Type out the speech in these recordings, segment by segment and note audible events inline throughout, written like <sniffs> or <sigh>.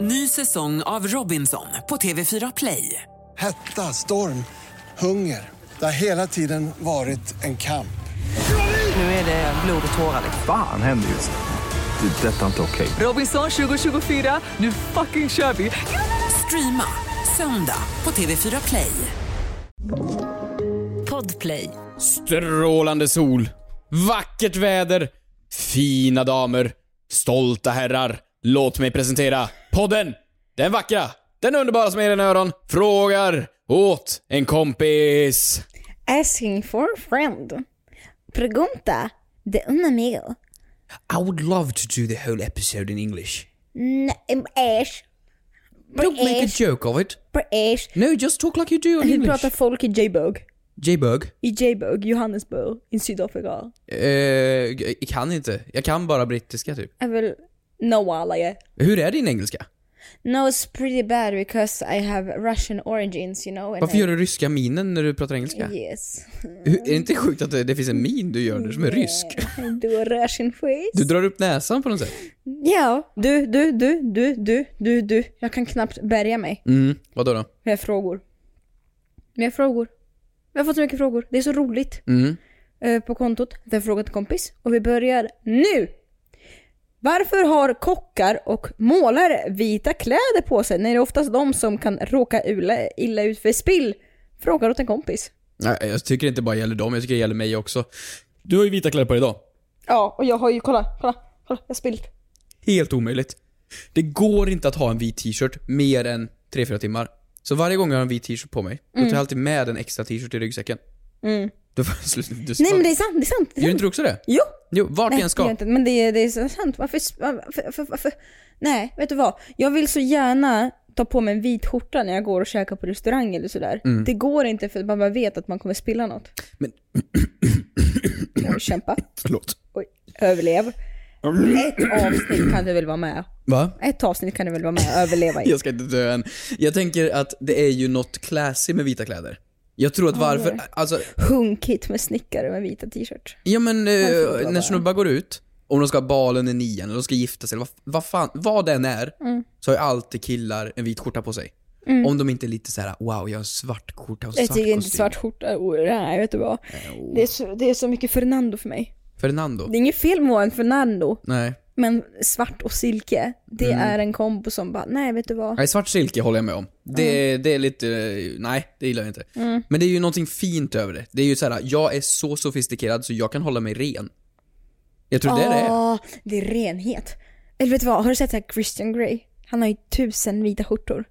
Ny säsong av Robinson på TV4 Play. Hetta, storm, hunger. Det har hela tiden varit en kamp. Nu är det blod och tårar. liksom. Fan händer just nu. Det. är Detta är inte okej. Robinson 2024, nu fucking kör vi! Streama söndag på TV4 Play. Podplay. Strålande sol, vackert väder, fina damer, stolta herrar. Låt mig presentera podden! Den vackra, den underbara som är i dina öron frågar åt en kompis. Asking for a friend. Pregunta de un amigo. I would love to do the whole episode in English. N- em- Ash. Don't make a Ash. joke of it. På Ash. No, just talk like you do in Hur English. pratar folk i J-Bug? J-Bug. I J-Bug, Johannesburg, i Sydafrika. Eh, jag kan inte. Jag kan bara brittiska typ. Jag vill know alla jag. Hur är din engelska? No, it's pretty bad because I have Russian origins, you know. and Eh. Varför I- gör du ryska minen när du pratar engelska? Yes. Hur- Är det inte sjukt att det, det finns en min du gör nu som är rysk? Du har Russian face. Du drar upp näsan på något sätt. Ja. Du, du, du, du, du, du, du. Jag kan knappt bärga mig. Mm, vadå då? Vi har frågor. Vi har frågor. Vi har fått så mycket frågor. Det är så roligt. Mm. Eh, på kontot. Vi har frågat en kompis. Och vi börjar nu! Varför har kockar och målare vita kläder på sig när det är oftast de som kan råka ula- illa ut för spill? Frågar åt en kompis. Nej, jag tycker det inte bara gäller dem, jag tycker det gäller mig också. Du har ju vita kläder på dig idag. Ja, och jag har ju, kolla, kolla, kolla, jag har spillt. Helt omöjligt. Det går inte att ha en vit t-shirt mer än 3-4 timmar. Så varje gång jag har en vit t-shirt på mig, då tar jag alltid med en extra t-shirt i ryggsäcken. Mm. Du får sluta. Du Nej men det är sant, det är sant. Det är Gör sant. inte du också det? Jo! Jo, vart jag än Nej, det gör ska. inte, men det är, det är så sant. Varför, varför, varför, varför? Nej, vet du vad? Jag vill så gärna ta på mig en vit skjorta när jag går och käkar på restaurang eller sådär. Det går inte för att man bara vet att man kommer spilla något. Mm. Men- Oj, kämpa. Förlåt. Oj, överlev. Ett avsnitt kan du väl vara med? Va? Ett avsnitt kan du väl vara med och överleva i? Jag ska inte dö än. Jag tänker att det är ju något classy med vita kläder. Jag tror att varför, alltså Hunkigt med snickare med vita t-shirt. Ja men eh, får inte vara när där. snubbar går ut, om de ska ha balen i nian eller de ska gifta sig eller vad, vad fan, vad den är, Mm. så har ju alltid killar en vit skjorta på sig. Om de inte är lite så här: wow jag har en svart skjorta och svart Jag kostym. Äh, tycker oh. inte svart skjorta, oh, nej vet du vad. Det är, så, det är så mycket Fernando för mig. Fernando? Det är inget fel med att vara en Fernando, Nej. men svart och silke, det Mm. är en kombo som bara, nej vet du vad. Nej, svart silke håller jag med om. Det, Mm. det är lite, eh, nej det gillar jag inte. Men det är ju någonting fint över det. Det är ju så här: jag är så sofistikerad så jag kan hålla mig ren. Jag tror det är det. Ja, Ah, det är renhet. Eller vet du vad, har du sett det här Christian Grey? Han har ju tusen vita skjortor.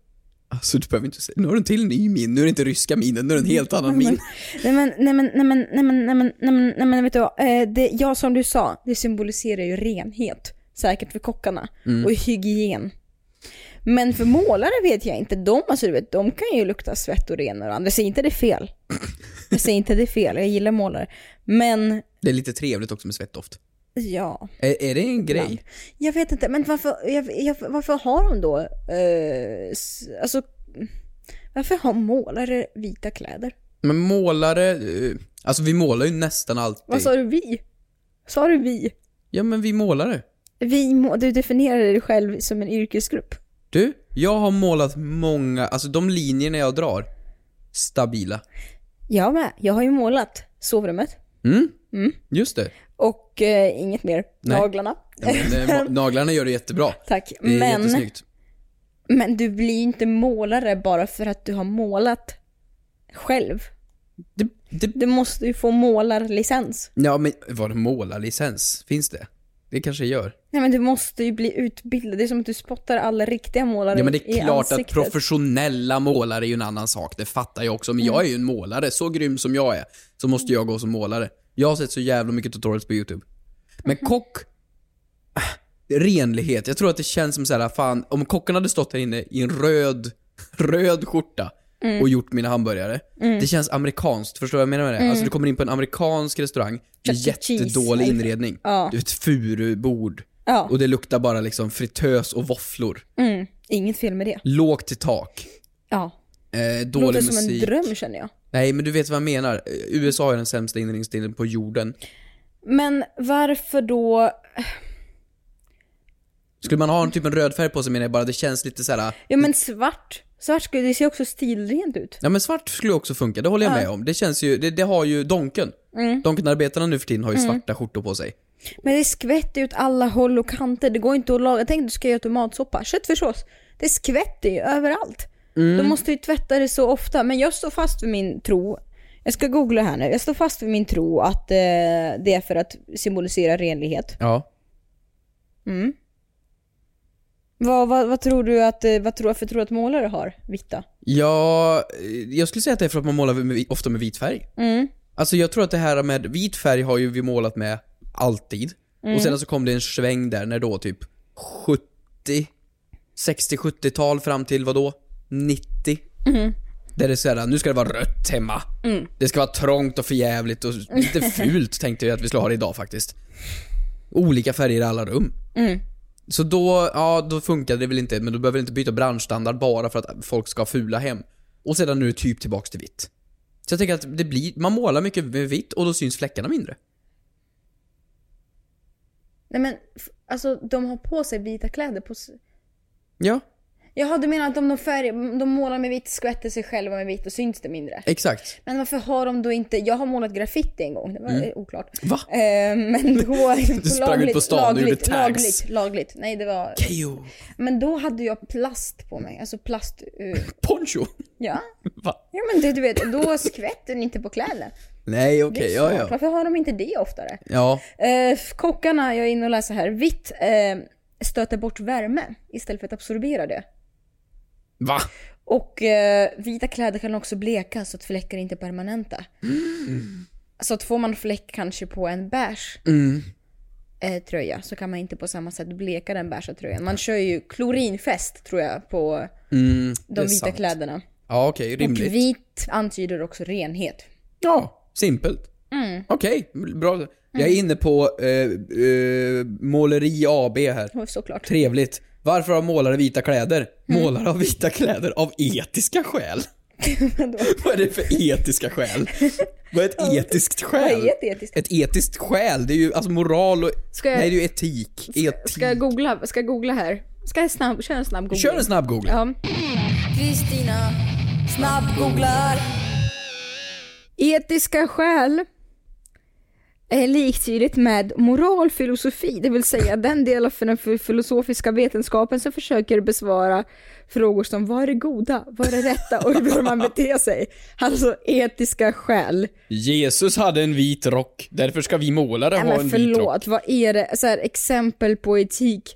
Alltså du behöver inte säga, nu har du en till ny min, nu är det inte ryska minen, nu är det en helt annan min. Nej men, nej men, nej men, nej men, nej men, nej men, nej men vet du vad? Eh, det, ja som du sa, det symboliserar ju renhet. Säkert för kockarna. Mm. Och hygien. Men för målare vet jag inte. De, alltså, du vet, de kan ju lukta svett och renor. Jag säger inte det <laughs> är fel. Jag säger inte det är fel, jag gillar målare. Men, Det är lite trevligt också med svettdoft. ja. Är, är det en grej? Ibland. Jag vet inte, men varför, jag, jag, varför har de då, eh, s- alltså, varför har målare vita kläder? Men målare, eh, alltså vi målar ju nästan alltid. Vad sa du vi? Sa du vi? Ja men vi målare. vi må, du definierar dig själv som en yrkesgrupp. Du, jag har målat många, alltså de linjerna jag drar, stabila. Jag med, jag har ju målat sovrummet. Mm, Mm. just det. Och eh, inget mer. Nej. Naglarna. Ja, men, <laughs> eh, ma- naglarna gör det jättebra. Tack. Det är Men, jättesnyggt. men du blir ju inte målare bara för att du har målat själv. Det, det, Du måste ju få målarlicens. ja men var det målarlicens? Finns det? Det kanske jag gör. Nej men du måste ju bli utbildad. Det är som att du spottar alla riktiga målare Ja men det i är klart att ansiktet. professionella målare är ju en annan sak, det fattar jag också. Men Mm. jag är ju en målare, så grym som jag är, så måste jag gå som målare. Jag har sett så jävla mycket tutorials på YouTube. Men Mhm. kock, ah, renlighet, jag tror att det känns som så här, fan, om kocken hade stått här inne i en röd, <laughs> röd skjorta Mm. och gjort mina hamburgare. Det känns amerikanskt, förstår du vad jag menar med det? Alltså du kommer in på en amerikansk restaurang med Chuck E. Mm. Cheese, jättedålig eller- inredning. Ja. Du vet, furubord. Ja, Och det luktar bara liksom fritös och våfflor. mm. inget fel med det. Lågt i tak. Ja. Eh, Det dålig låter som en musik. dröm känner jag. Nej, men du vet vad jag menar. Eh, USA är den sämsta inredningsstilen på jorden. Men varför då... Skulle man ha en typ en röd färg på sig menar jag bara, det känns lite så här. Ja men svart. Svart skulle, det ser också stilrent ut. Ja men svart skulle också funka, det håller jag med om. Det känns ju, det, det har ju Donken. Mm. Donkenarbetarna nu för tiden har ju svarta skjortor på sig. Men det skvätter ut alla håll och kanter. Det går inte att laga. Tänk du ska göra tomatsoppa. Köttfärssås. Det skvätter ju överallt. Mm. Du måste ju tvätta det så ofta. Men jag står fast vid min tro. Jag ska googla här nu. Jag står fast vid min tro att eh, det är för att symbolisera renlighet. Ja. Vad, vad, vad tror du att, eh, vad tror, för tror du att målare har? Vita? Ja, eh, jag skulle säga att det är för att man målar med, ofta med vit färg. Alltså jag tror att det här med vit färg har ju vi målat med alltid. Och sen så kom det en sväng där när då typ 70, 60-70-tal fram till vad då? 90? Där det är såhär, nu ska det vara rött hemma. Det ska vara trångt och förjävligt och lite fult tänkte jag att vi skulle ha det idag faktiskt. Olika färger i alla rum. Så då, ja, då funkade det väl inte, men du behöver inte byta branschstandard bara för att folk ska ha fula hem. Och sedan nu är det typ tillbaks till vitt. Så jag tänker att det blir, man målar mycket med vitt och då syns fläckarna mindre. Nej men f- alltså de har på sig vita kläder. På... s- Ja, Jaha du menar att om de, färg, de målar med vitt skvätter sig själva med vitt och syns det mindre? exakt. Men varför har de då inte, jag har målat graffiti en gång, det var eh, oklart. Mm. Va? Eh, men då... <laughs> Du sprang ut på stan och lagligt, gjorde tags. lagligt, lagligt. Nej det var... Kejo! Men då hade jag plast på mig, alltså plast... eh, Poncho! <laughs> ja. Va? ja men du, du vet, då skvätter den inte på kläderna. Nej, Det är okej, smart. ja, ja. Varför har de inte det oftare? Ja, Eh, kockarna, jag är inne och läser här, vitt eh, stöter bort värme istället för att absorbera det. va? Och eh, vita kläder kan också bleka så att fläckar inte är permanenta. Så att får man fläck kanske på en beige eh, tröja så kan man inte på samma sätt bleka den beigea tröjan. Man kör ju klorinfest tror jag på det de är vita sant. kläderna. Ja, okej, Och rimligt. vitt antyder också renhet. <laughs> Ja, simpelt. Mm. Okej, bra. Jag är inne på eh, eh, Måleri AB här. Och Såklart. Trevligt. Varför har målare vita kläder? Mm. Målare har vita kläder av etiska <laughs> skäl. Vad är det för etiska skäl? Vad är ett etiskt skäl? Vad är ett etiskt? Ett etiskt skäl, det är ju alltså moral och... Ska jag- Nej, det är ju etik. Etik. Ska jag googla, ska jag googla här? Ska jag snabb, köra en snabb googling? Kör en snabb googling. Ja. Kristina snabbgooglar. Etiska skäl är liktydigt med moralfilosofi, det vill säga den del av den filosofiska vetenskapen som försöker besvara frågor som vad är det goda, vad är det rätta och hur bör man bete sig? Alltså etiska skäl. Jesus hade en vit rock, därför ska vi målare Nej, men förlåt, vad är det? Så här, exempel på etik.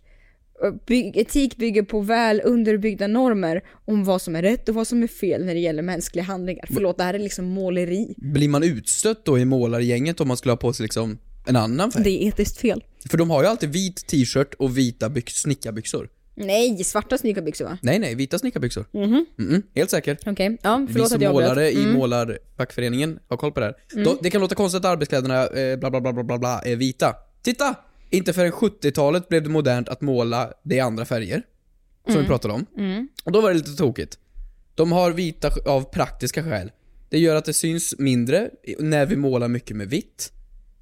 By- etik bygger på väl underbyggda normer om vad som är rätt och vad som är fel när det gäller mänskliga handlingar. Förlåt, det här är liksom måleri. Blir man utstött då i målargänget om man skulle ha på sig liksom en annan färg? Det är etiskt fel. För de har ju alltid vit t-shirt och vita byx- snickarbyxor. Nej, svarta snygga byxor va? Nej, nej, vita snickarbyxor. Mhm. Mm-mm, helt säker. Okej, ja Vi förlåt som att jag målare avbröt. Mm. i målarfackföreningen har koll på det här. Då, det kan låta konstigt att arbetskläderna eh, bla, bla, bla, bla, bla, bla är vita. Titta! Inte förrän 70-talet blev det modernt att måla det i andra färger. Som Mm. vi pratade om. Och då var det lite tokigt. De har vita sk- av praktiska skäl. Det gör att det syns mindre i- när vi målar mycket med vitt.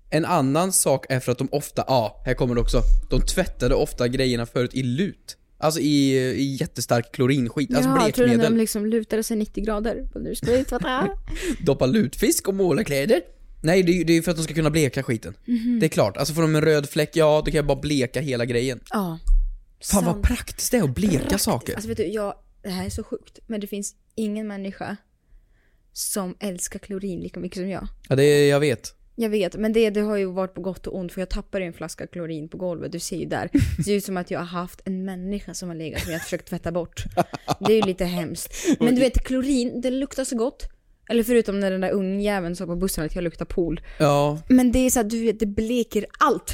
En annan sak är för att de ofta, ja, ah, här kommer det också. De tvättade ofta grejerna förut i lut. Alltså i, i jättestark klorinskit, alltså Jaha, tror du när blekmedel. de liksom lutade sig 90 grader? Och Nu ska vi <laughs> tvätta. Doppa lutfisk och måla kläder? Nej, det är ju det är ju för att de ska kunna bleka skiten. Mhm. Det är klart. Alltså får de en röd fläck, ja då kan jag bara bleka hela grejen. Ja. Fan vad Sant. praktiskt det är att bleka saker. Alltså vet du, jag, det här är så sjukt, men det finns ingen människa som älskar klorin lika mycket som jag. Ja, det är, jag vet. Jag vet, men det, det har ju varit på gott och ont för jag tappade ju en flaska klorin på golvet, du ser <laughs> ju där. Det ser ut som att jag har haft en människa som har legat som jag har försökt tvätta bort. Det är ju lite hemskt. Men du vet, klorin, det luktar så gott. Eller förutom när den där ungjäveln sa på bussen att jag luktar pool. Ja, Men det är så att du vet, det bleker allt.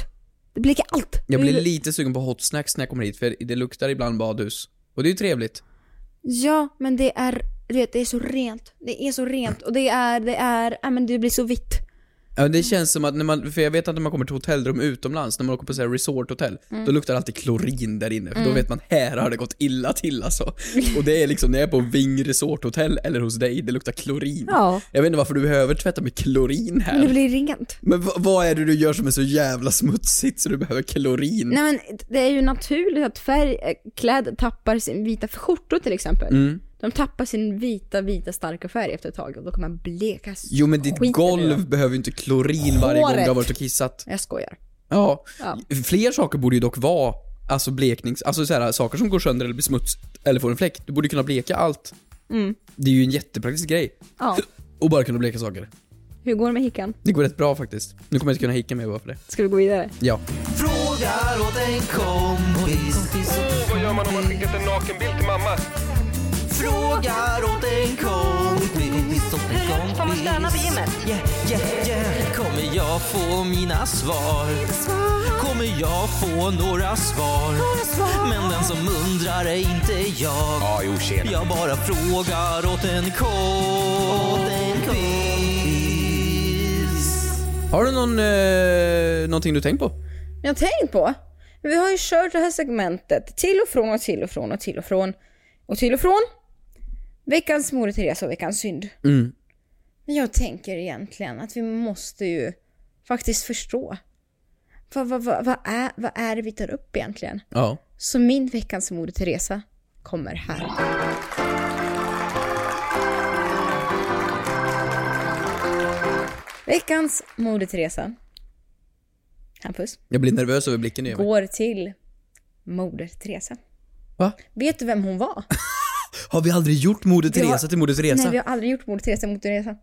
Det bleker allt. jag blir lite sugen på hot snacks när jag kommer hit för det luktar ibland badhus. Och det är ju trevligt. Ja, men det är, du vet, det är så rent. Det är så rent och det är, det är, ja men det blir så vitt. Ja, det känns som att när man, för jag vet att när man kommer till hotellrum utomlands, när man åker på så här resorthotell, Mm. då luktar det alltid klorin där inne. För då vet man, här har det gått illa till alltså. Och det är liksom när jag är på Ving resorthotell eller hos dig, det luktar klorin. Ja. Jag vet inte varför du behöver tvätta med klorin här. Men det blir rent. Men v- vad är det du gör som är så jävla smutsigt så du behöver klorin? Nej men det är ju naturligt att färg, eh, kläder tappar sin vita, för skjortor till exempel. Mm. De tappar sin vita, vita starka färg efter ett tag och då kan man bleka Jo men ditt skiten ur golv dem. behöver ju inte klorin varje gång du har Håret. varit och kissat. Jag skojar. Ja. Ja. Fler saker borde ju dock vara, alltså bleknings, alltså så här, saker som går sönder eller blir smuts eller får en fläck. Du borde kunna bleka allt. Det är ju en jättepraktisk grej. Mm. <laughs> Ja. <sniffs> Och bara kunna bleka saker. Hur går det med hickan? Det går rätt bra faktiskt. Nu kommer jag inte kunna hicka mer bara för det. Ska vi gå vidare? Ja. Frågar åt en kompis. Vad gör man om man skickat en nakenbild till mamma? Frågar åt en kompis. åt en Hur högt får man kompis. stöna på gymmet? Yeah, yeah, yeah. Kommer jag få mina svar? Kommer jag få några svar? Men den som undrar är inte jag. Ja, jo tjena. Jag bara frågar åt en kompis. Har du någon, eh, någonting du tänkt på? Jag har tänkt på. Vi har ju kört det här segmentet till och från och till och från och till och från. Och till och från. Veckans Moder Teresa och veckans synd. Mm. Men jag tänker egentligen att vi måste ju faktiskt förstå. Vad, vad, vad, vad, är, vad är det vi tar upp egentligen? Ja. Så min veckans Moder Teresa kommer här. Veckans Moder Teresa. Hampus Jag blir nervös över blicken nu. Emil. går till Moder Teresa. Va? Vet du vem hon var? Har vi aldrig gjort Moder Vi har- Teresa till Moder Teresa? Nej, vi har aldrig gjort Moder Teresa mot Teresa. Men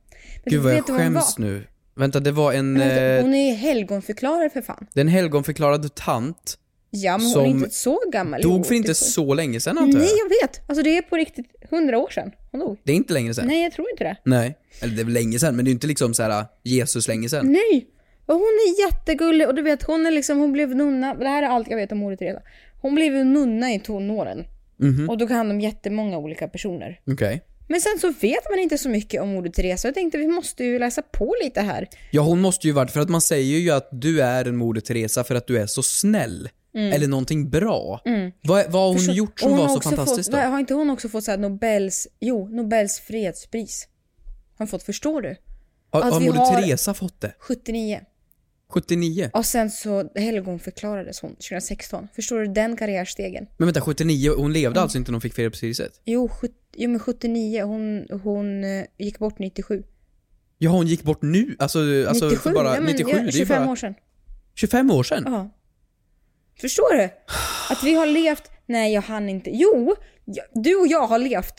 Gud vad jag vet du vem hon skäms var? nu. Vänta, det var en, Men vänta, eh, Hon är ju helgonförklarad för fan. den helgonförklarad tant. Ja, men hon som är inte så gammal. Jo, Dog för inte typ- så länge sedan antar Nej, jag. jag vet. Alltså det är på riktigt hundra år sedan hon dog. Det är inte längre sedan. Nej, jag tror inte det. Nej. Eller det är väl länge sedan, men det är ju inte liksom så här Jesus länge sedan. Nej! Och hon är jättegullig och du vet hon är liksom, hon blev nunna. Det här är allt jag vet om Moder Teresa. Hon blev ju nunna i tonåren. Mhm. Och då kan hand om jättemånga olika personer. Okej. Men sen så vet man inte så mycket om Moder Teresa. Jag tänkte vi måste ju läsa på lite här. Ja, hon måste ju varit, för att man säger ju att du är en Moder Teresa för att du är så snäll. Eller någonting bra. Vad, vad har hon gjort som Och Mm. hon var har så också fantastiskt fått, då? Har inte hon också fått så här Nobels, jo, Nobels fredspris? Har hon fått, förstår du? Har, att har vi Moder alltså, har- Teresa fått det? 79. 79? Och sen så helgonförklarades hon 2016. Förstår du den karriärstegen? Men vänta, 79, hon levde Mm. alltså inte när hon fick fredspriset? Jo, 70, jo men 79, hon, hon eh, gick bort 97. Ja, hon gick bort nu? Alltså, alltså 97, för bara, ja, men, 97 ja, det är ju 25 bara... år sedan. 25 år sedan? Ja. Förstår du? Att vi har levt... Nej, jag hann inte. Jo! jag- Du och jag har levt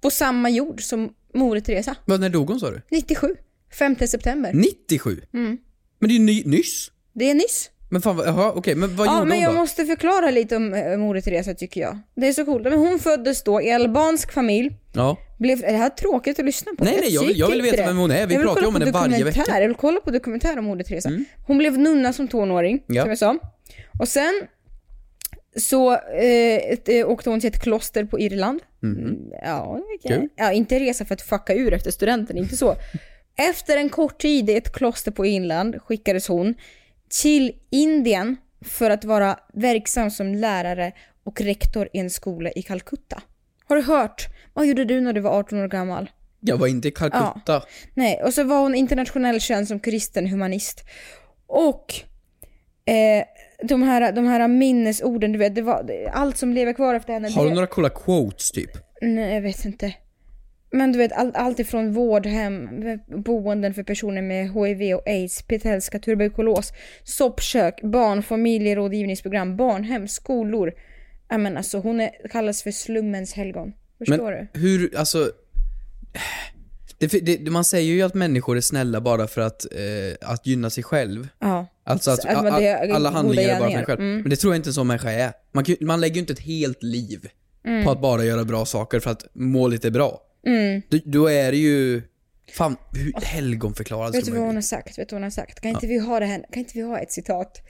på samma jord som Moder Teresa. Vad, när dog hon sa du? 97. 5 september. Mm. 97? Mm. Men det är ju ny, nyss. Det är nyss. Men fan, vad- jaha, okej, men vad Ja, gjorde men hon jag då? måste förklara lite om eh, Moder Teresa tycker jag. Det är så coolt. Men hon föddes då i albansk familj. Ja. Blev, är det här tråkigt att lyssna på? Nej, nej, jag vill- tycker jag vill inte veta det. vem hon är. Vi Jag vill pratar kolla om på henne varje dokumentär. vecka. Jag vill kolla på dokumentär om Moder Teresa. Hon blev nunna som tonåring, Mm. Ja. som jag sa. Och sen så eh, ett, eh, åkte hon till ett kloster på Irland. Mm, Ja, okej. Mhm. Kul. ja, inte resa för att fucka ur efter studenten, <laughs> inte så. Efter en kort tid i ett kloster på Irland skickades hon till Indien för att vara verksam som lärare och rektor i en skola i Calcutta. Har du hört? Vad gjorde du när du var 18 år gammal? Jag var inte i Calcutta. Nej, och så var hon internationell känd som kristen humanist. Och eh, de, här, de här minnesorden, du vet, det var, det- allt som lever kvar efter henne. Har det, hon några coola quotes typ? Nej, jag vet inte. Men du vet, allt, allt ifrån vårdhem, boenden för personer med HIV och aids, petelska, tuberkulos, soppkök, barn, familjerådgivningsprogram, barnhem, skolor. Jag menar, alltså, hon är, kallas för slummens helgon. Förstår du? hur, alltså... Det, det, man säger ju att människor är snälla bara för att, eh, att gynna sig själv. Ja. Alltså att, Så att man- a- det a- är alla goda handlingar är bara för gärningar. en själv. Mm. Men det tror jag inte en sån människa är. Man, kan, ju- man lägger ju inte ett helt liv Mm. på att bara göra bra saker för att målet är bra. Då, då är det ju... Fan, hur helgonförklarad Oh. Vet ska du vad man hon ju har sagt? Vet du vad hon har sagt? Kan inte vi ha det här? Kan inte vi ha ett citat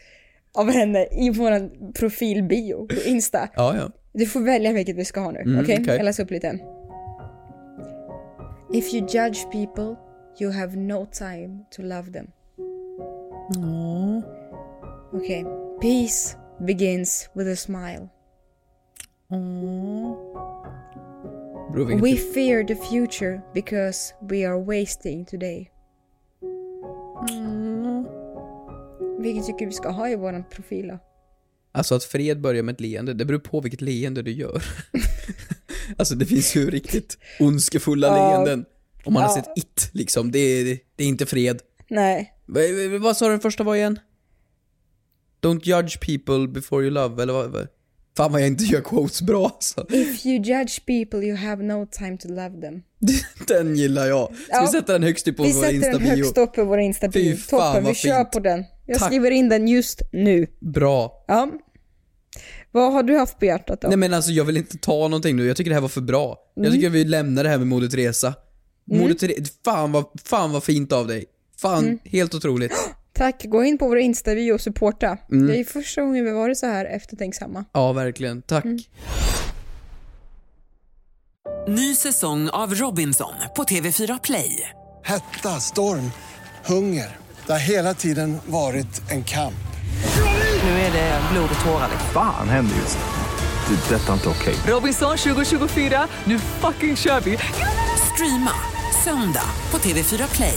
av henne i vår profilbio på Insta? Ja, ja. Du får välja vilket vi ska ha nu. Mm, Okej? okej. Jag läser upp lite. If you judge people, you have no time to love them. Okej. Peace begins with a smile. Beror vilket- We fear the future because we are wasting today. Mm. Vilket tycker vi ska ha i våran profil då? Alltså att fred börjar med ett leende, det beror på vilket leende du gör. <laughs> alltså det finns ju <laughs> riktigt ondskefulla leenden. Om man har sett It liksom, det är, det är inte fred. Nej. Va- va- Vad sa den första var igen? Don't judge people before you love, eller vad? vad- Fan vad jag inte gör quotes bra alltså. If you judge people you have no time to love them. Den gillar jag. Ska Ja. vi sätta den högst upp på Vi vår sätter den instabio? högst upp på våra Fy instabio. fan, Toppen, vi vad kör fint. på den. Jag Tack. skriver in den just nu. Bra. Ja. Vad har du haft på hjärtat då? Nej men alltså jag vill inte ta någonting nu, jag tycker det här var för bra. Jag Mm. tycker vi lämnar det här med Moder Teresa. Moder Teresa, fan vad, fan vad fint av dig. Fan, Mm. helt otroligt. Tack, gå in på våra Insta-video och supporta. Mm. Det är första gången vi varit så här eftertänksamma. Ja, verkligen. Tack. Mm. Ny säsong av Robinson på TV4 Play. Hetta, storm, hunger. Det har hela tiden varit en kamp. Nu är det blod och tårar. Fan händer just nu. Det. är Detta är inte okej. Robinson 2024, nu fucking kör vi! Streama söndag på TV4 Play.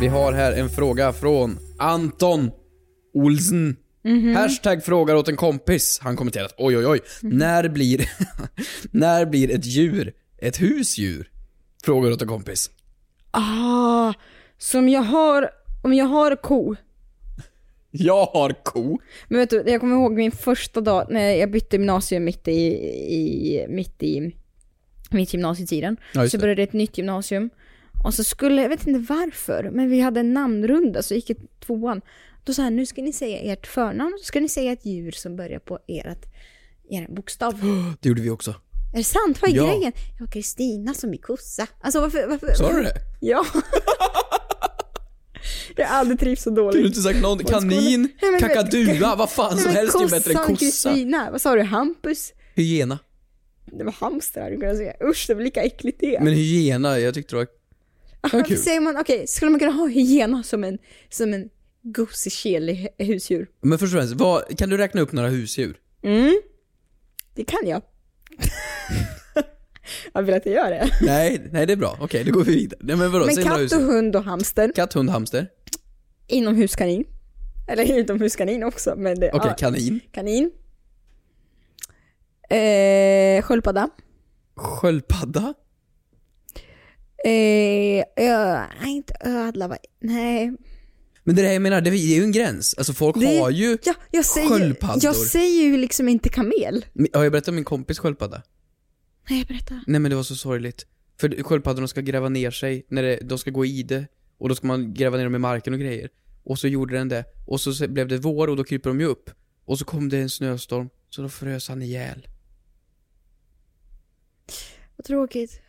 Vi har här en fråga från Anton Olsen. Mhm. Hashtag frågar åt en kompis. Han kommenterat oj oj oj. Mhm. När, blir, <laughs> när blir ett djur ett husdjur? Frågar åt en kompis. Ah, som jag har, om jag har ko. Jag har ko. Men vet du, jag kommer ihåg min första dag när jag bytte gymnasium mitt i, i mitt i mitt gymnasietiden. Ja, just så det. började ett nytt gymnasium. Och så skulle, jag vet inte varför, men vi hade en namnrunda så gick jag till tvåan. Då sa han, nu ska ni säga ert förnamn, så ska ni säga ett djur som börjar på ert, er <gasps> bokstav. Det gjorde vi också. Är det sant? Vad är Ja. grejen? Jag har Kristina som är kossa. Alltså varför... varför Sa du det? <laughs> Ja. jag har aldrig trivts så Du har dåligt. inte sagt någonting. Kanin, Nej, men- kakadua, vad fan som Nej, men helst är ju bättre kossan än kossa. Kristina. Vad sa du? Hampus? Hyena. Det var hamster hade du kunnat säga. Usch, det var lika äckligt det. Men hyena, jag tyckte det var... det var Varför kul. säger man, okej, skulle man kunna ha hyena som en, som en gosekel i hu- husdjur? Mm. Men först och främst, vad, kan du räkna upp några <laughs> husdjur? Det kan jag. <laughs> jag vill att jag gör det. Nej, nej det är bra. Okej, då går vi vidare. Nej men vadå, Men säg några katt och husdjur. hund och hamster. Katt, hund, hamster. Inomhuskanin. Eller <laughs> utomhuskanin också, men det... Okej, ja. kanin. Kanin. Eh, sköldpadda. Sköldpadda. Eh, ö, nej, inte ödla. vad- Nej. Men det där jag menar, det är ju en gräns. Alltså folk Det- har ju... Ja, jag, säger, sköldpaddor. jag säger ju liksom inte kamel. Har jag berättat om min kompis sköldpadda? Nej, berätta. Nej men det var så sorgligt. För sköldpaddorna ska gräva ner sig, när det, de ska gå i det. Och då ska man gräva ner dem i marken och grejer. Och så gjorde den det. Och så se- blev det vår och då kryper de ju upp. Och så kom det en snöstorm, så då frös han ihjäl. Vad tråkigt.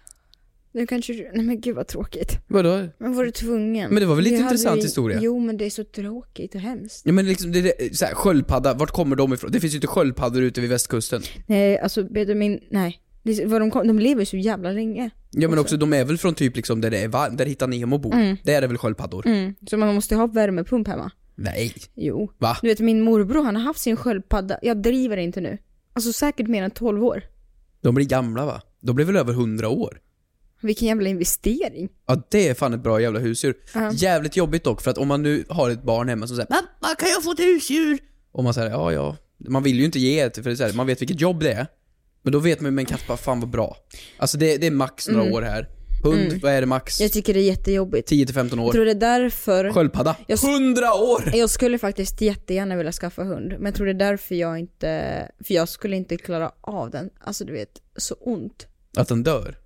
Nu kanske du... Nej men gud vad tråkigt. Vadå? Men var du tvungen? Men det var väl lite hade intressant ju- historia? Jo, men det är så tråkigt och hemskt. Ja men liksom, det, det, så här, sköldpadda, vart kommer de ifrån? Det finns ju inte sköldpaddor ute vid västkusten. Nej, alltså Benjamin... Nej. Det, vad de, kom, de lever ju så jävla länge. Ja men också, de är väl från typ liksom där det är varmt, där Hitta Nemo bor. Där är det väl sköldpaddor? Så man måste ha värmepump hemma. Nej. Jo. Va? Du vet min morbror, han har haft sin sköldpadda. Jag driver inte nu. Alltså säkert mer än 12 år. De blir gamla va? De blir väl över 100 år? Vilken jävla investering. Ja det är fan ett bra jävla husdjur. Jävligt jobbigt dock för att om man nu har ett barn hemma som säger Mamma kan jag få ett husdjur? Och man säger ja ja. Man vill ju inte ge ett för det är så här, man vet vilket jobb det är. Men då vet man ju med en katt bara fan vad bra. Alltså det, det är max några år här. Hund, Mm. vad är det max? Jag tycker det är jättejobbigt. 10-15 år. Jag tror det är därför... Sköldpadda. Jag, s- 100 år! jag skulle faktiskt jättegärna vilja skaffa hund, men jag tror det är därför jag inte... För jag skulle inte klara av den. Alltså du vet, så ont. Att den dör?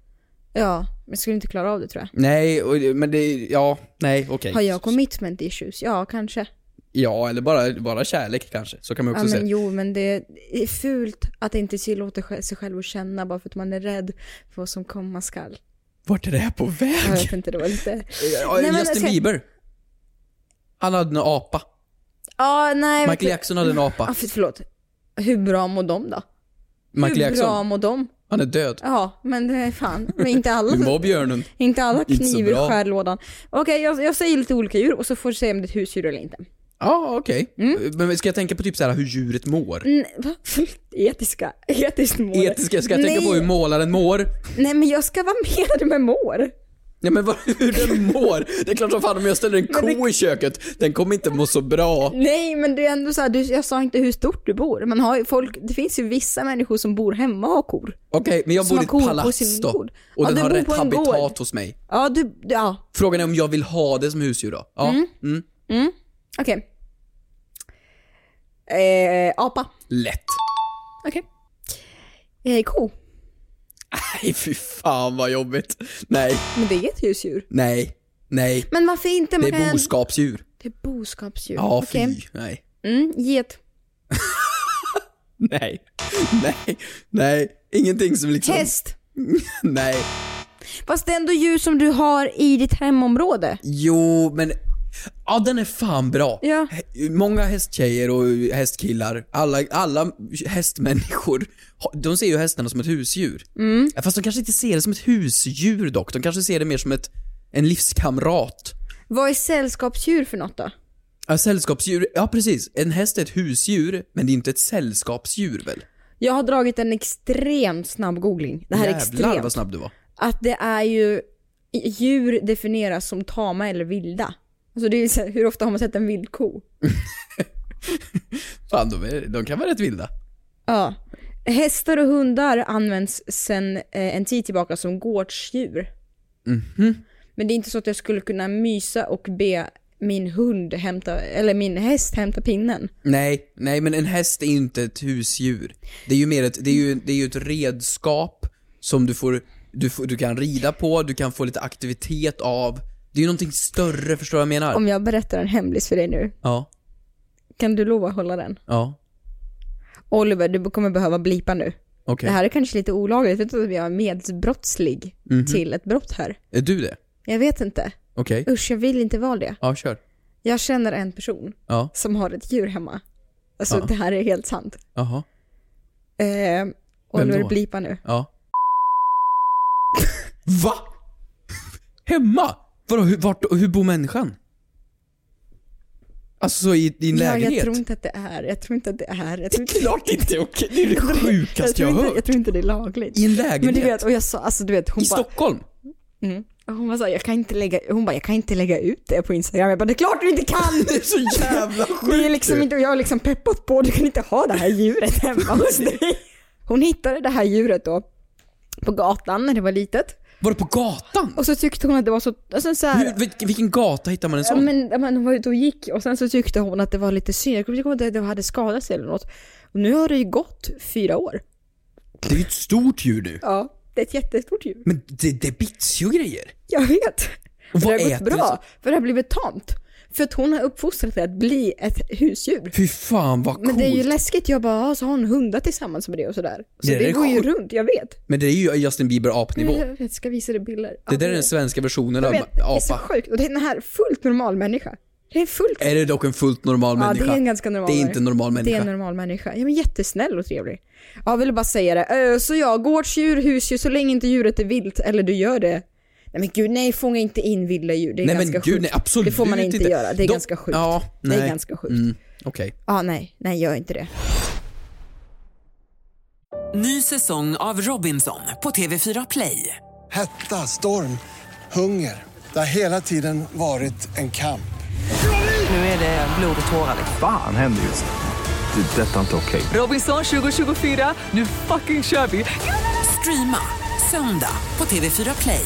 Ja, men jag skulle inte klara av det tror jag. Nej, och, men det, ja, nej, okej. Har jag commitment issues? Ja, kanske. Ja, eller bara, bara kärlek kanske. Så kan man Ja, också men säga. jo, men det är fult att inte tillåta sj- sig själv att känna bara för att man är rädd för vad som komma skall. Vart är det här på väg? Jag vet inte, det var lite... <laughs> Ja, Nej, men alltså, Justin ska- Bieber. Han hade en apa. Ja, nej. vet Michael du- Jackson hade en apa. Ja, för- förlåt. Hur bra mår de då? Michael Hur bra Jackson. mår de? Han är död. Ja, men det är fan. Men inte alla, Hur mår björnen? inte alla Inte så kniv i bra. skärlådan. Okej, jag, jag säger lite olika djur och så får du säga om det är ett husdjur eller inte. Ja, okej. Men ska jag tänka på typ så här hur djuret mår? Mm, va? <laughs> Etiska? Etiskt mår. Etiska, ska jag tänka Mm. Nej. på hur målaren mår? Nej men jag ska vara med med mår. Ja men vad, <laughs> hur den mår? Det är klart som fan om jag <laughs> ställer en ko i köket, den kommer inte må så bra. Nej men det är ändå så här, du, jag sa inte hur stort du bor. Man har ju folk, det finns ju vissa människor som bor hemma och har kor. Okej, men jag Som bor i har kor ett på palats sin då. gård. Och Ja, den den har bor rätt på en habitat gård. hos mig. Ja, du, ja. Frågan är om jag vill ha det som husdjur då? Ja. Mm. Mm. Mm. Okej. Eh, apa. Lätt. <laughs> Okej. Eh, ko. Nej fy fan vad jobbigt. Nej, Men det är ett husdjur. nej, nej. Men varför inte? Man Det är kan- boskapsdjur. Det är boskapsdjur. Ja, Okej. fy. Nej. Mm, get. Nej. Nej. Nej. Ingenting som liksom... Häst. Nej. Fast det är ändå djur som du har i ditt hemområde. Jo, men... Ja, den är fan bra. Ja. H- Många hästtjejer och hästkillar, alla, alla hästmänniskor, ha- de ser ju hästarna som ett husdjur. Mm. Ja, Fast de kanske inte ser det som ett husdjur dock, de kanske ser det mer som ett, en livskamrat. Vad är sällskapsdjur för något då? Ja, sällskapsdjur, ja precis. En häst är ett husdjur, men det är inte ett sällskapsdjur väl? Jag har dragit en extremt snabb googling. Det här är Jävlar extremt. vad snabb du var. Att det är ju, djur definieras som tama eller vilda. Alltså det är ju så här, hur ofta har man sett en vild ko? Fan, de, är, de kan vara rätt vilda. Ja. Hästar och hundar används sedan eh, en tid tillbaka som gårdsdjur. Mhm. Men det är inte så att jag skulle kunna mysa och be min hund hämta, eller min häst hämta pinnen. Nej, nej men en häst är ju inte ett husdjur. Det är ju mer ett, det är ju, det är ju ett redskap som du får, du får, du kan rida på, du kan få lite aktivitet av. Det är ju någonting större, förstår du vad jag menar? Om jag berättar en hemlis för dig nu, Ja, kan du lova att hålla den? ja, Oliver, du kommer behöva blipa nu. okej. Det här är kanske lite olagligt, vet du att jag är medbrottslig Mhm. till ett brott här? Är du det? Jag vet inte. Okej. Usch, jag vill inte vara det. Ja, kör. Jag känner en person Ja, som har ett djur hemma. Alltså Ja. det här är helt sant. jaha, Eh, Oliver, då? blipa nu. ja. <laughs> Va? Hemma? Vadå, hur, vart, hur bor människan? Alltså så i din Ja, lägenhet? jag tror inte att det är, jag tror inte att det är. Jag tror inte Klart inte är okej, det är det jag, sjukaste tror jag har inte, jag hört. tror inte det är lagligt. I en lägenhet? Men du vet, och jag sa, alltså du vet, hon I bara, Stockholm? mm. Och hon bara så här, jag kan inte lägga, hon bara, jag kan inte lägga ut det på Instagram. Jag bara, det är klart du inte kan! <laughs> Det är <laughs> så jävla sjukt Det är liksom ju. inte, och jag har liksom peppat på, du kan inte ha det här djuret <laughs> hemma hos dig. Hon hittade det här djuret då på gatan när det var litet. Var det på gatan? Och så tyckte hon att det var så, alltså så här, Hur, vil- vilken gata hittar man en Ja, sån? men, ja, men hon var ute och gick och sen så tyckte hon att det var lite synd. Jag kommer inte ihåg att det hade skadat sig eller något. Och nu har det ju gått fyra år. Det är ju ett stort djur nu. Ja, det är ett jättestort djur. Men det, det bits ju och grejer. Jag vet. Och det vad har gått äter det bra, så? för det har blivit tamt. För att hon har uppfostrat det att bli ett husdjur. Fy fan vad coolt. Men det är ju läskigt. Jag bara, ja, så har hon hundar tillsammans med det och sådär. Så Det det, är det går ju sjukt. runt, jag vet. Men det är ju Justin Bieber apnivå. Jag ska visa dig bilder. Det där är den svenska versionen jag av vet, det är så apa. sjukt. Och det är den här fullt normal människa. Det är en fullt... Är det dock en fullt normal Ja, människa? det är en ganska normal Det är inte en normal Det är människa. en normal människa. Ja, men jättesnäll och trevlig. Ja, jag ville bara säga det. Eh, Så ja, gårdsdjur, husdjur, så länge inte djuret är vilt eller du gör det. Nej men gud, nej fånga inte in vilda djur. Det är nej men ganska gud, sjukt. nej absolut det får man inte, göra. Det är De- ganska sjukt. Ja, nej. Det är ganska sjukt. Mm, Okej. Ja, nej, nej gör inte det. Ny säsong av Robinson på TV4 Play. Hetta, storm, hunger. Det har hela tiden varit en kamp. Nu är det blod och tårar. liksom. Fan händer just det. Det är detta inte okej. Robinson 2024, nu fucking kör vi! Streama söndag på TV4 Play.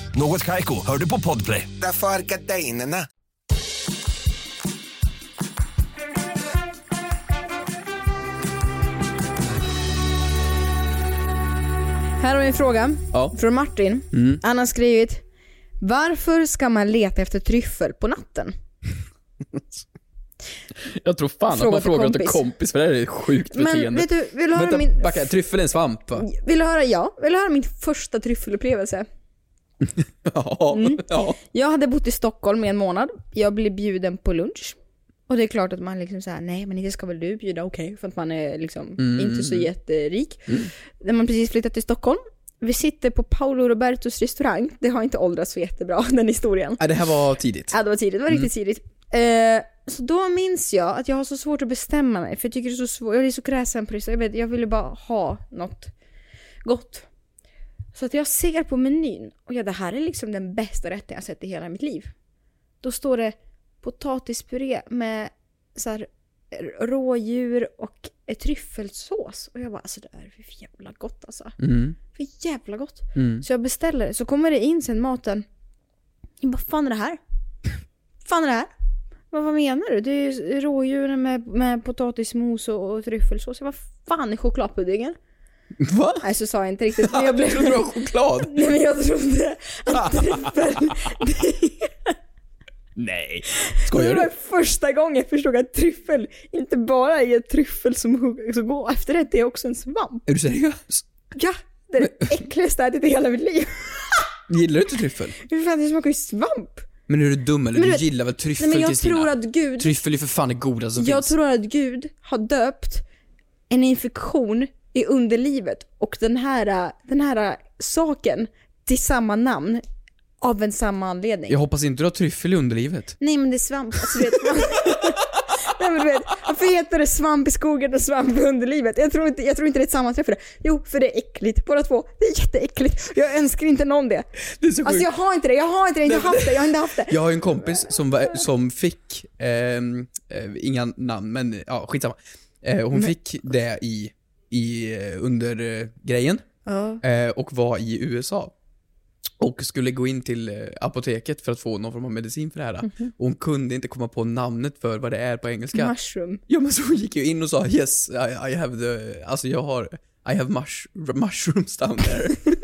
Något Kaiko, hör du på Podplay. Därför är gardinerna. Här har vi en fråga från Martin. Mm. Han har skrivit Varför ska man leta efter tryffel på natten? Jag tror fan Fråga att man till frågar till kompis. kompis för det här är ett sjukt Men, beteende. vet du, vill du höra Vänta, min- Mm. backa. Tryffel är en svamp va? Vill du höra, ja, vill du höra min första tryffelupplevelse? Ja. Mm. ja. Jag hade bott i Stockholm i en månad. Jag blev bjuden på lunch. Och det är klart att man liksom såhär, nej men inte ska väl du bjuda, okej. för att man är liksom Mm, inte så mm, mm. jätterik. När man precis flyttat till Stockholm. Vi sitter på Paolo Robertos restaurang. Det har inte åldrats så jättebra, <laughs> den historien. Nej, det här var tidigt. Ja, det var tidigt. Det var riktigt Mm. tidigt. Eh, så då minns jag att jag har så svårt att bestämma mig, för jag tycker det är så svårt. Jag är så kräsen på det, så jag, vet, jag ville bara ha något gott. Så att jag ser på menyn och ja, det här är liksom den bästa rätten jag sett i hela mitt liv. Då står det potatispuré med så här, r- rådjur och ett tryffelsås. Och jag bara alltså det här är för jävla gott alltså. Mm. För jävla gott. Mm. Så jag beställer det. Så kommer det in sen maten. Jag bara, fan är det här? fan är det här? Vad, vad menar du? Det är ju rådjuren med, med potatismos och, och tryffelsås. Jag bara, fan är chokladpuddingen? Va? Nej så sa jag inte riktigt. Men jag blev... <laughs> Jag trodde det var choklad. <laughs> Nej men jag trodde <laughs> att tryffel... Nej. <laughs> det Skojar var du? första gången jag förstod att tryffel inte bara är tryffel som hugg- som går efterrätt, det är också en svamp. Är du seriös? Ja, det är det äckligaste jag ätit i hela mitt liv. Gillar du inte tryffel? Hur fan, det smakar ju svamp. Men är du dum eller? Men Du du vet- gillar väl tryffel Nej men jag Kristina? tror att Gud... Tryffel är för fan det godaste som Jag finns. tror att Gud har döpt en infektion i underlivet och den här, den här saken till samma namn av en samma anledning. Jag hoppas inte du har tryffel i underlivet. Nej men det är svamp. Alltså, du vet, <laughs> Nej, men du vet, varför heter det svamp i skogen och svamp i underlivet? Jag tror inte, jag tror inte det är ett sammanträff för det. Jo, för det är äckligt. Båda två. Det är jätteäckligt. Jag önskar inte någon <laughs> det. det är så alltså sjukt. jag har inte det. Jag har inte det. Jag har inte haft det. Jag har inte haft det. Jag har ju en kompis som, var, som fick, ehm, eh, inga namn men ja, skitsamma. Eh, hon Men- fick det i, i eh, under eh, grejen Ja. eh, och var i USA. Och skulle gå in till eh, apoteket för att få någon form av medicin för det här. Mhm. Och hon kunde inte komma på namnet för vad det är på engelska. Mushroom. Ja men så hon gick ju in och sa yes, I, I have the, alltså jag har, I have mush, mushrooms down there. <laughs>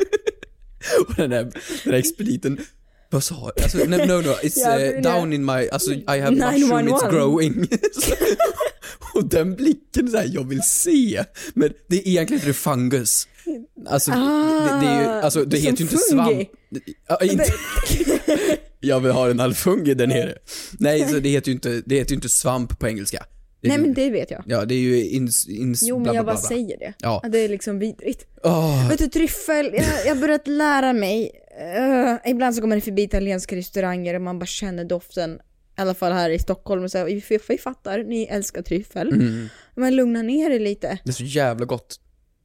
och den där, den där expediten, vad sa du? Alltså no no, no it's Ja, eh, men- down in my, alltså I have mushroom, 911. it's growing. <laughs> och den blicken såhär, jag vill se. Men det är egentligen inte fungus. Alltså, det, det, är ju, alltså, det Ah, heter ju inte som fungi. svamp. Ja, inte, jag vill ha en alfungi där nere. Nej, så det heter ju inte, det heter ju inte svamp på engelska. Det är Nej ju- men det vet jag. Ja, det är ju ins... ins bla, Jo men bla, jag bara bla, bla. säger det. Ja. Att Det är liksom vidrigt. Åh, Vet du tryffel, jag jag har börjat lära mig. Eh, ibland så kommer det förbi italienska restauranger och man bara känner doften. I alla fall här i Stockholm. Och så här, vi, vi, vi fattar, ni älskar tryffel. Mm. Men lugna ner er lite. det är så jävla gott.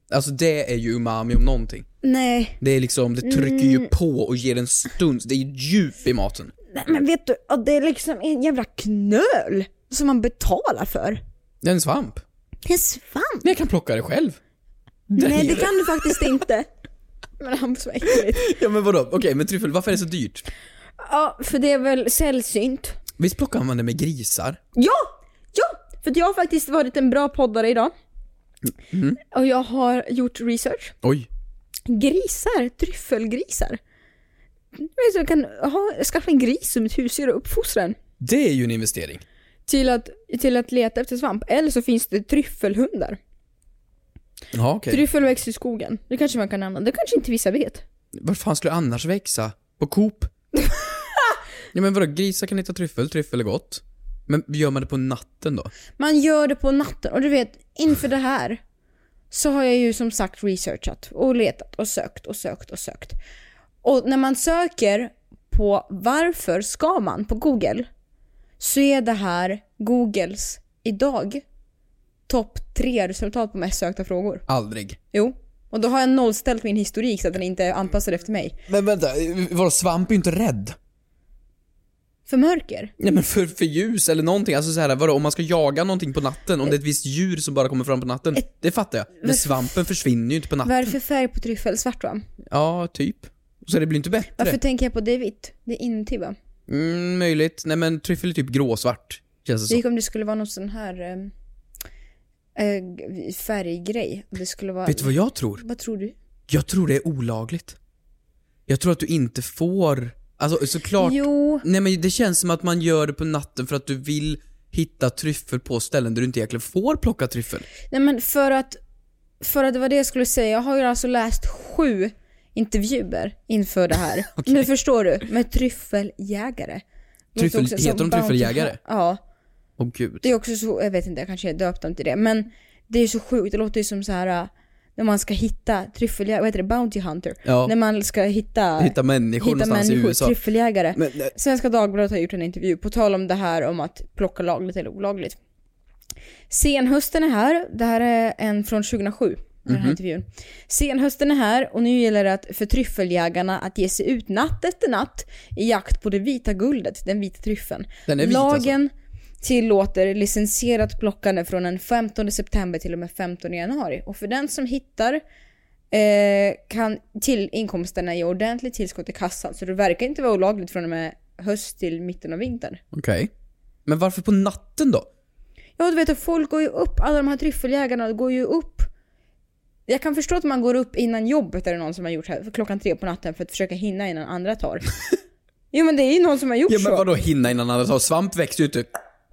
Alltså det är ju umami om någonting. Nej, Det är liksom, det trycker ju Mm. på och ger en stunds, det är ju djup i maten. nej men vet du, ja, det är liksom en jävla knöl som man betalar för. Det är en svamp. En svamp? Men jag kan plocka det själv. Där Nej det nere. kan du faktiskt <laughs> inte. Men Hampus vad äckligt. <laughs> Ja men vadå, okej men tryffel, varför är det så dyrt? Ja, för det är väl sällsynt. Visst plockar man det med grisar? Ja! Ja! För att jag har faktiskt varit en bra poddare idag. Mm. Och jag har gjort research. Oj. Grisar, tryffelgrisar. Du vet, Jag kan ha, skaffa en gris som ett husdjur och uppfostra den Det är ju en investering. till att, till att leta efter svamp. Eller så finns det tryffelhundar. Ja okej. Tryffel växer i skogen. Det kanske man kan använda. Det kanske inte vissa vet. Var fan skulle det annars växa? På <laughs> Coop? ja men vadå, grisar kan hitta tryffel, tryffel är gott. Men gör man det på natten då? Man gör det på natten och du vet, inför det här så har jag ju som sagt researchat och letat och sökt och sökt och sökt. Och när man söker på varför ska man på Google så är det här Googles idag topp tre resultat på mest sökta frågor. Aldrig. Jo. Och då har jag nollställt min historik så att den inte är anpassad efter mig. Men vänta, var svamp är ju inte rädd? För mörker? Nej men för, för ljus eller någonting, alltså så här, vadå, om man ska jaga någonting på natten, om det är ett visst djur som bara kommer fram på natten, det fattar jag. Men Varför- svampen försvinner ju inte på Vad är natten. det för färg på tryffel? Svart va? Ja, typ. Så det blir inte bättre. Varför tänker jag på det är vitt? Det är inuti va? Mm, möjligt. Nej men tryffel är typ gråsvart, känns det Det som. gick om det skulle vara någon sån här eh, eh, färggrej. Och Det skulle vara... Vet du vad jag tror? Vad tror du? Jag tror det är olagligt. Jag tror att du inte får... Alltså såklart... Jo. Nej men det känns som att man gör det på natten för att du vill hitta tryffel på ställen där du inte egentligen får plocka tryffel. Nej men för att, för att det var det jag skulle säga. Jag har ju alltså läst sju intervjuer inför <laughs> det här. Nu förstår du. Med tryffeljägare. Låter Tryffel- också som heter de Bounty tryffeljägare? Hunt. Ja. Åh gud. Det är också så, jag vet inte, jag kanske är döpt dem till det. Men det är ju så sjukt, det låter ju som så här äh, när man ska hitta tryffeljägare, vad heter det, Bounty Hunter? Ja. När man ska hitta, Hitta människor hitta någonstans i människor, USA. tryffeljägare. Men, eh, nej. Svenska Dagbladet har gjort en intervju, på tal om det här om att plocka lagligt eller olagligt. Senhösten är här, det här är en från 2007. Den här Mhm. intervjun. Senhösten är här och nu gäller det att för tryffeljägarna att ge sig ut natt efter natt i jakt på det vita guldet, den vita tryffeln. Den är vit, alltså. Lagen tillåter licensierat plockande från den 15 september till och med 15 januari. Och för den som hittar eh, kan till inkomsterna ge ordentligt tillskott i kassan. Så det verkar inte vara olagligt från och med höst till mitten av vintern. Okej. Men varför på natten då? Ja, du vet att folk går ju upp, alla de här tryffeljägarna går ju upp. Jag kan förstå att man går upp innan jobbet är det någon som har gjort här, för klockan tre på natten för att försöka hinna innan <laughs> andra tar. jo men det är ju någon som har gjort Ja så. men vadå hinna innan andra tar? Svamp växer ju inte...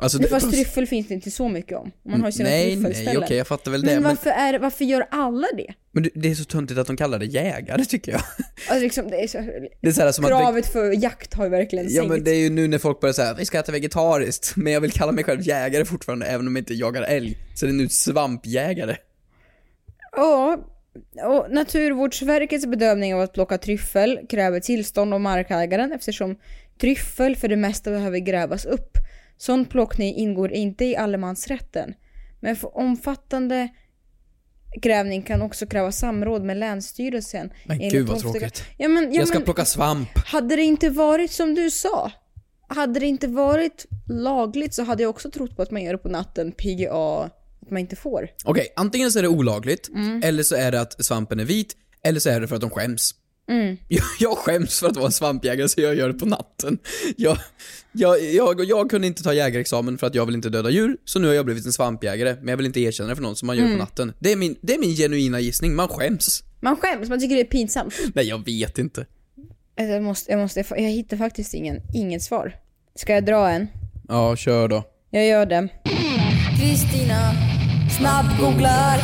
Alltså, Men Fast tryffel finns det inte så mycket om. Man har ju sina Nej, nej, tryffelställen. okej jag fattar väl men, det. Men, varför, är, varför gör alla det? men det- det är så töntigt att de kallar det jägare tycker jag. <laughs> Alltså, liksom, det är så, Det är så här som att... kravet för jakt har ju verkligen Ja men sänkts. det är ju nu när folk börjar säga vi ska äta vegetariskt, <laughs> men jag vill kalla mig själv jägare fortfarande även om jag inte jagar älg. Så det är nu svampjägare. Ja, och Naturvårdsverkets bedömning av att plocka tryffel kräver tillstånd av markägaren eftersom tryffel för det mesta behöver grävas upp. Sån plockning ingår inte i allemansrätten. Men för omfattande grävning kan också kräva samråd med Länsstyrelsen. Men enligt gud vad 12 tråkigt. Ja, men, ja, jag ska men, plocka svamp. Hade det inte varit som du sa, hade det inte varit lagligt så hade jag också trott på att man gör det på natten, PGA, att man inte får. Okej, antingen så är det olagligt, eller så är det att svampen är vit, eller så är det för att de skäms. Mm. Jag, jag skäms för att vara en svampjägare så jag gör det på natten. Jag, jag, jag, jag kunde inte ta jägarexamen för att jag vill inte döda djur, så nu har jag blivit en svampjägare, men jag vill inte erkänna det för någon som man gör Mm. på natten. Det är, min, det är min genuina gissning, man skäms. Man skäms, man tycker det är pinsamt. Nej, jag vet inte. Alltså, Jag, måste, jag, måste, jag hittar faktiskt ingen, inget svar. Ska jag dra en? Ja, kör då. Jag gör det. Kristina snabbgooglar.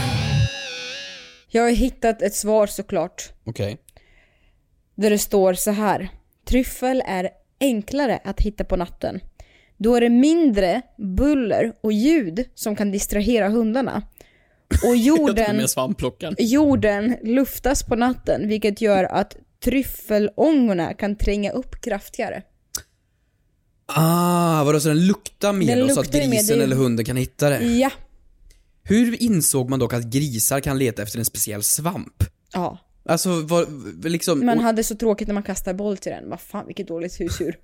Jag har hittat ett svar såklart. Okej. Där det står så här. Tryffel är enklare att hitta på natten. Då är det mindre buller och ljud som kan distrahera hundarna. Och Jag tog jorden... med svampplockaren. Jorden luftas på natten vilket gör att tryffelångorna kan tränga upp kraftigare. Ah, vadå så den luktar mer Den då så att luktar Mm. ju mer, det grisen är ju- eller hunden kan hitta det? Ja. Hur insåg man dock att grisar kan leta efter en speciell svamp? Ja. Alltså, vad, liksom... Man och- hade så tråkigt när man kastar boll till den. Vad fan vilket <laughs> dåligt husdjur.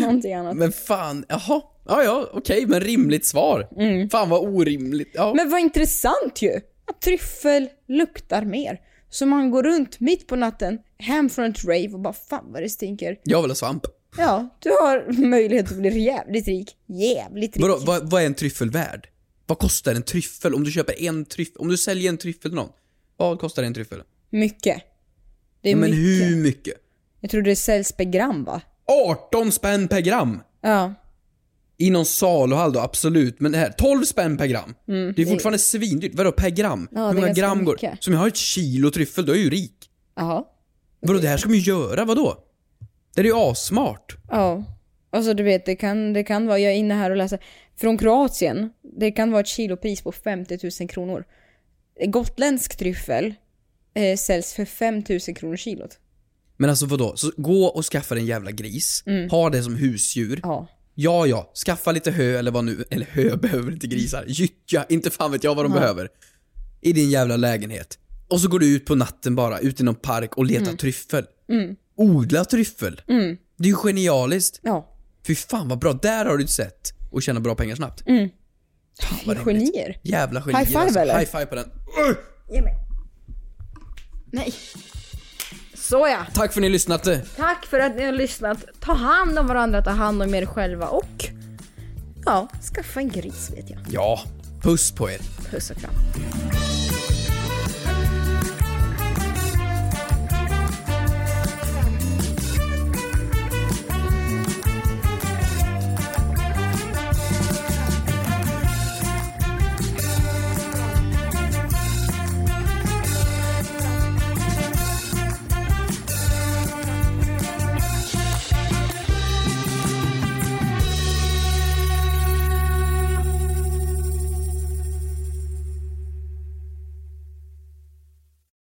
Någonting annat. Men fan, jaha. Ja, ja, okej, men rimligt svar. Fan vad orimligt. Ja. Mm. Men vad intressant ju! Att tryffel luktar mer. Så man går runt mitt på natten, hem från ett rave och bara fan vad det stinker. Jag vill ha svamp. Ja, du har <laughs> möjlighet att bli jävligt rik. Jävligt rik. Vadå, vad, vad är en tryffel värd? Vad kostar en tryffel? Om du köper en tryffel, om du säljer en tryffel till någon. Vad kostar en tryffel? Mycket. Det är Ja, men mycket. hur mycket? Jag tror det säljs per gram va? 18 spänn per gram! Ja. I någon saluhall då, absolut. Men det här, 12 spänn per gram. Mm, det är det- fortfarande svindyrt. Vadå, per gram? Ja, det är Hur många ganska gram går mycket. Så om jag har ett kilo tryffel, då är jag ju rik. Jaha. Vadå, det här ska man ju göra, vadå? Det är ju assmart. Ja. Alltså du vet, det kan, det kan vara, jag är inne här och läser. Från Kroatien, det kan vara ett kilopris på 50 000 kronor. Gotländsk tryffel eh, säljs för 5 000 kronor kilot. Men alltså vadå? Så gå och skaffa dig en jävla gris, Mm. ha det som husdjur, Ja, ja, skaffa lite hö eller vad nu, eller hö <laughs> behöver inte grisar. Gyttja, inte fan vet jag vad de Nej. behöver. I din jävla lägenhet. Och så går du ut på natten bara, ut i någon park och letar Mm. tryffel. Mm. Odla tryffel. Mm. Det är ju genialiskt. Ja. Fy fan vad bra, där har du ett sätt att tjäna bra pengar snabbt. Mm. vad Fy, genier. Jävla genier High five alltså. eller? High five på den. Ge mig. Nej. Såja. Tack för att ni lyssnade. Tack för att ni har lyssnat. Ta hand om varandra, ta hand om er själva och ja, skaffa en gris vet jag. Ja, puss på er. Puss och kram.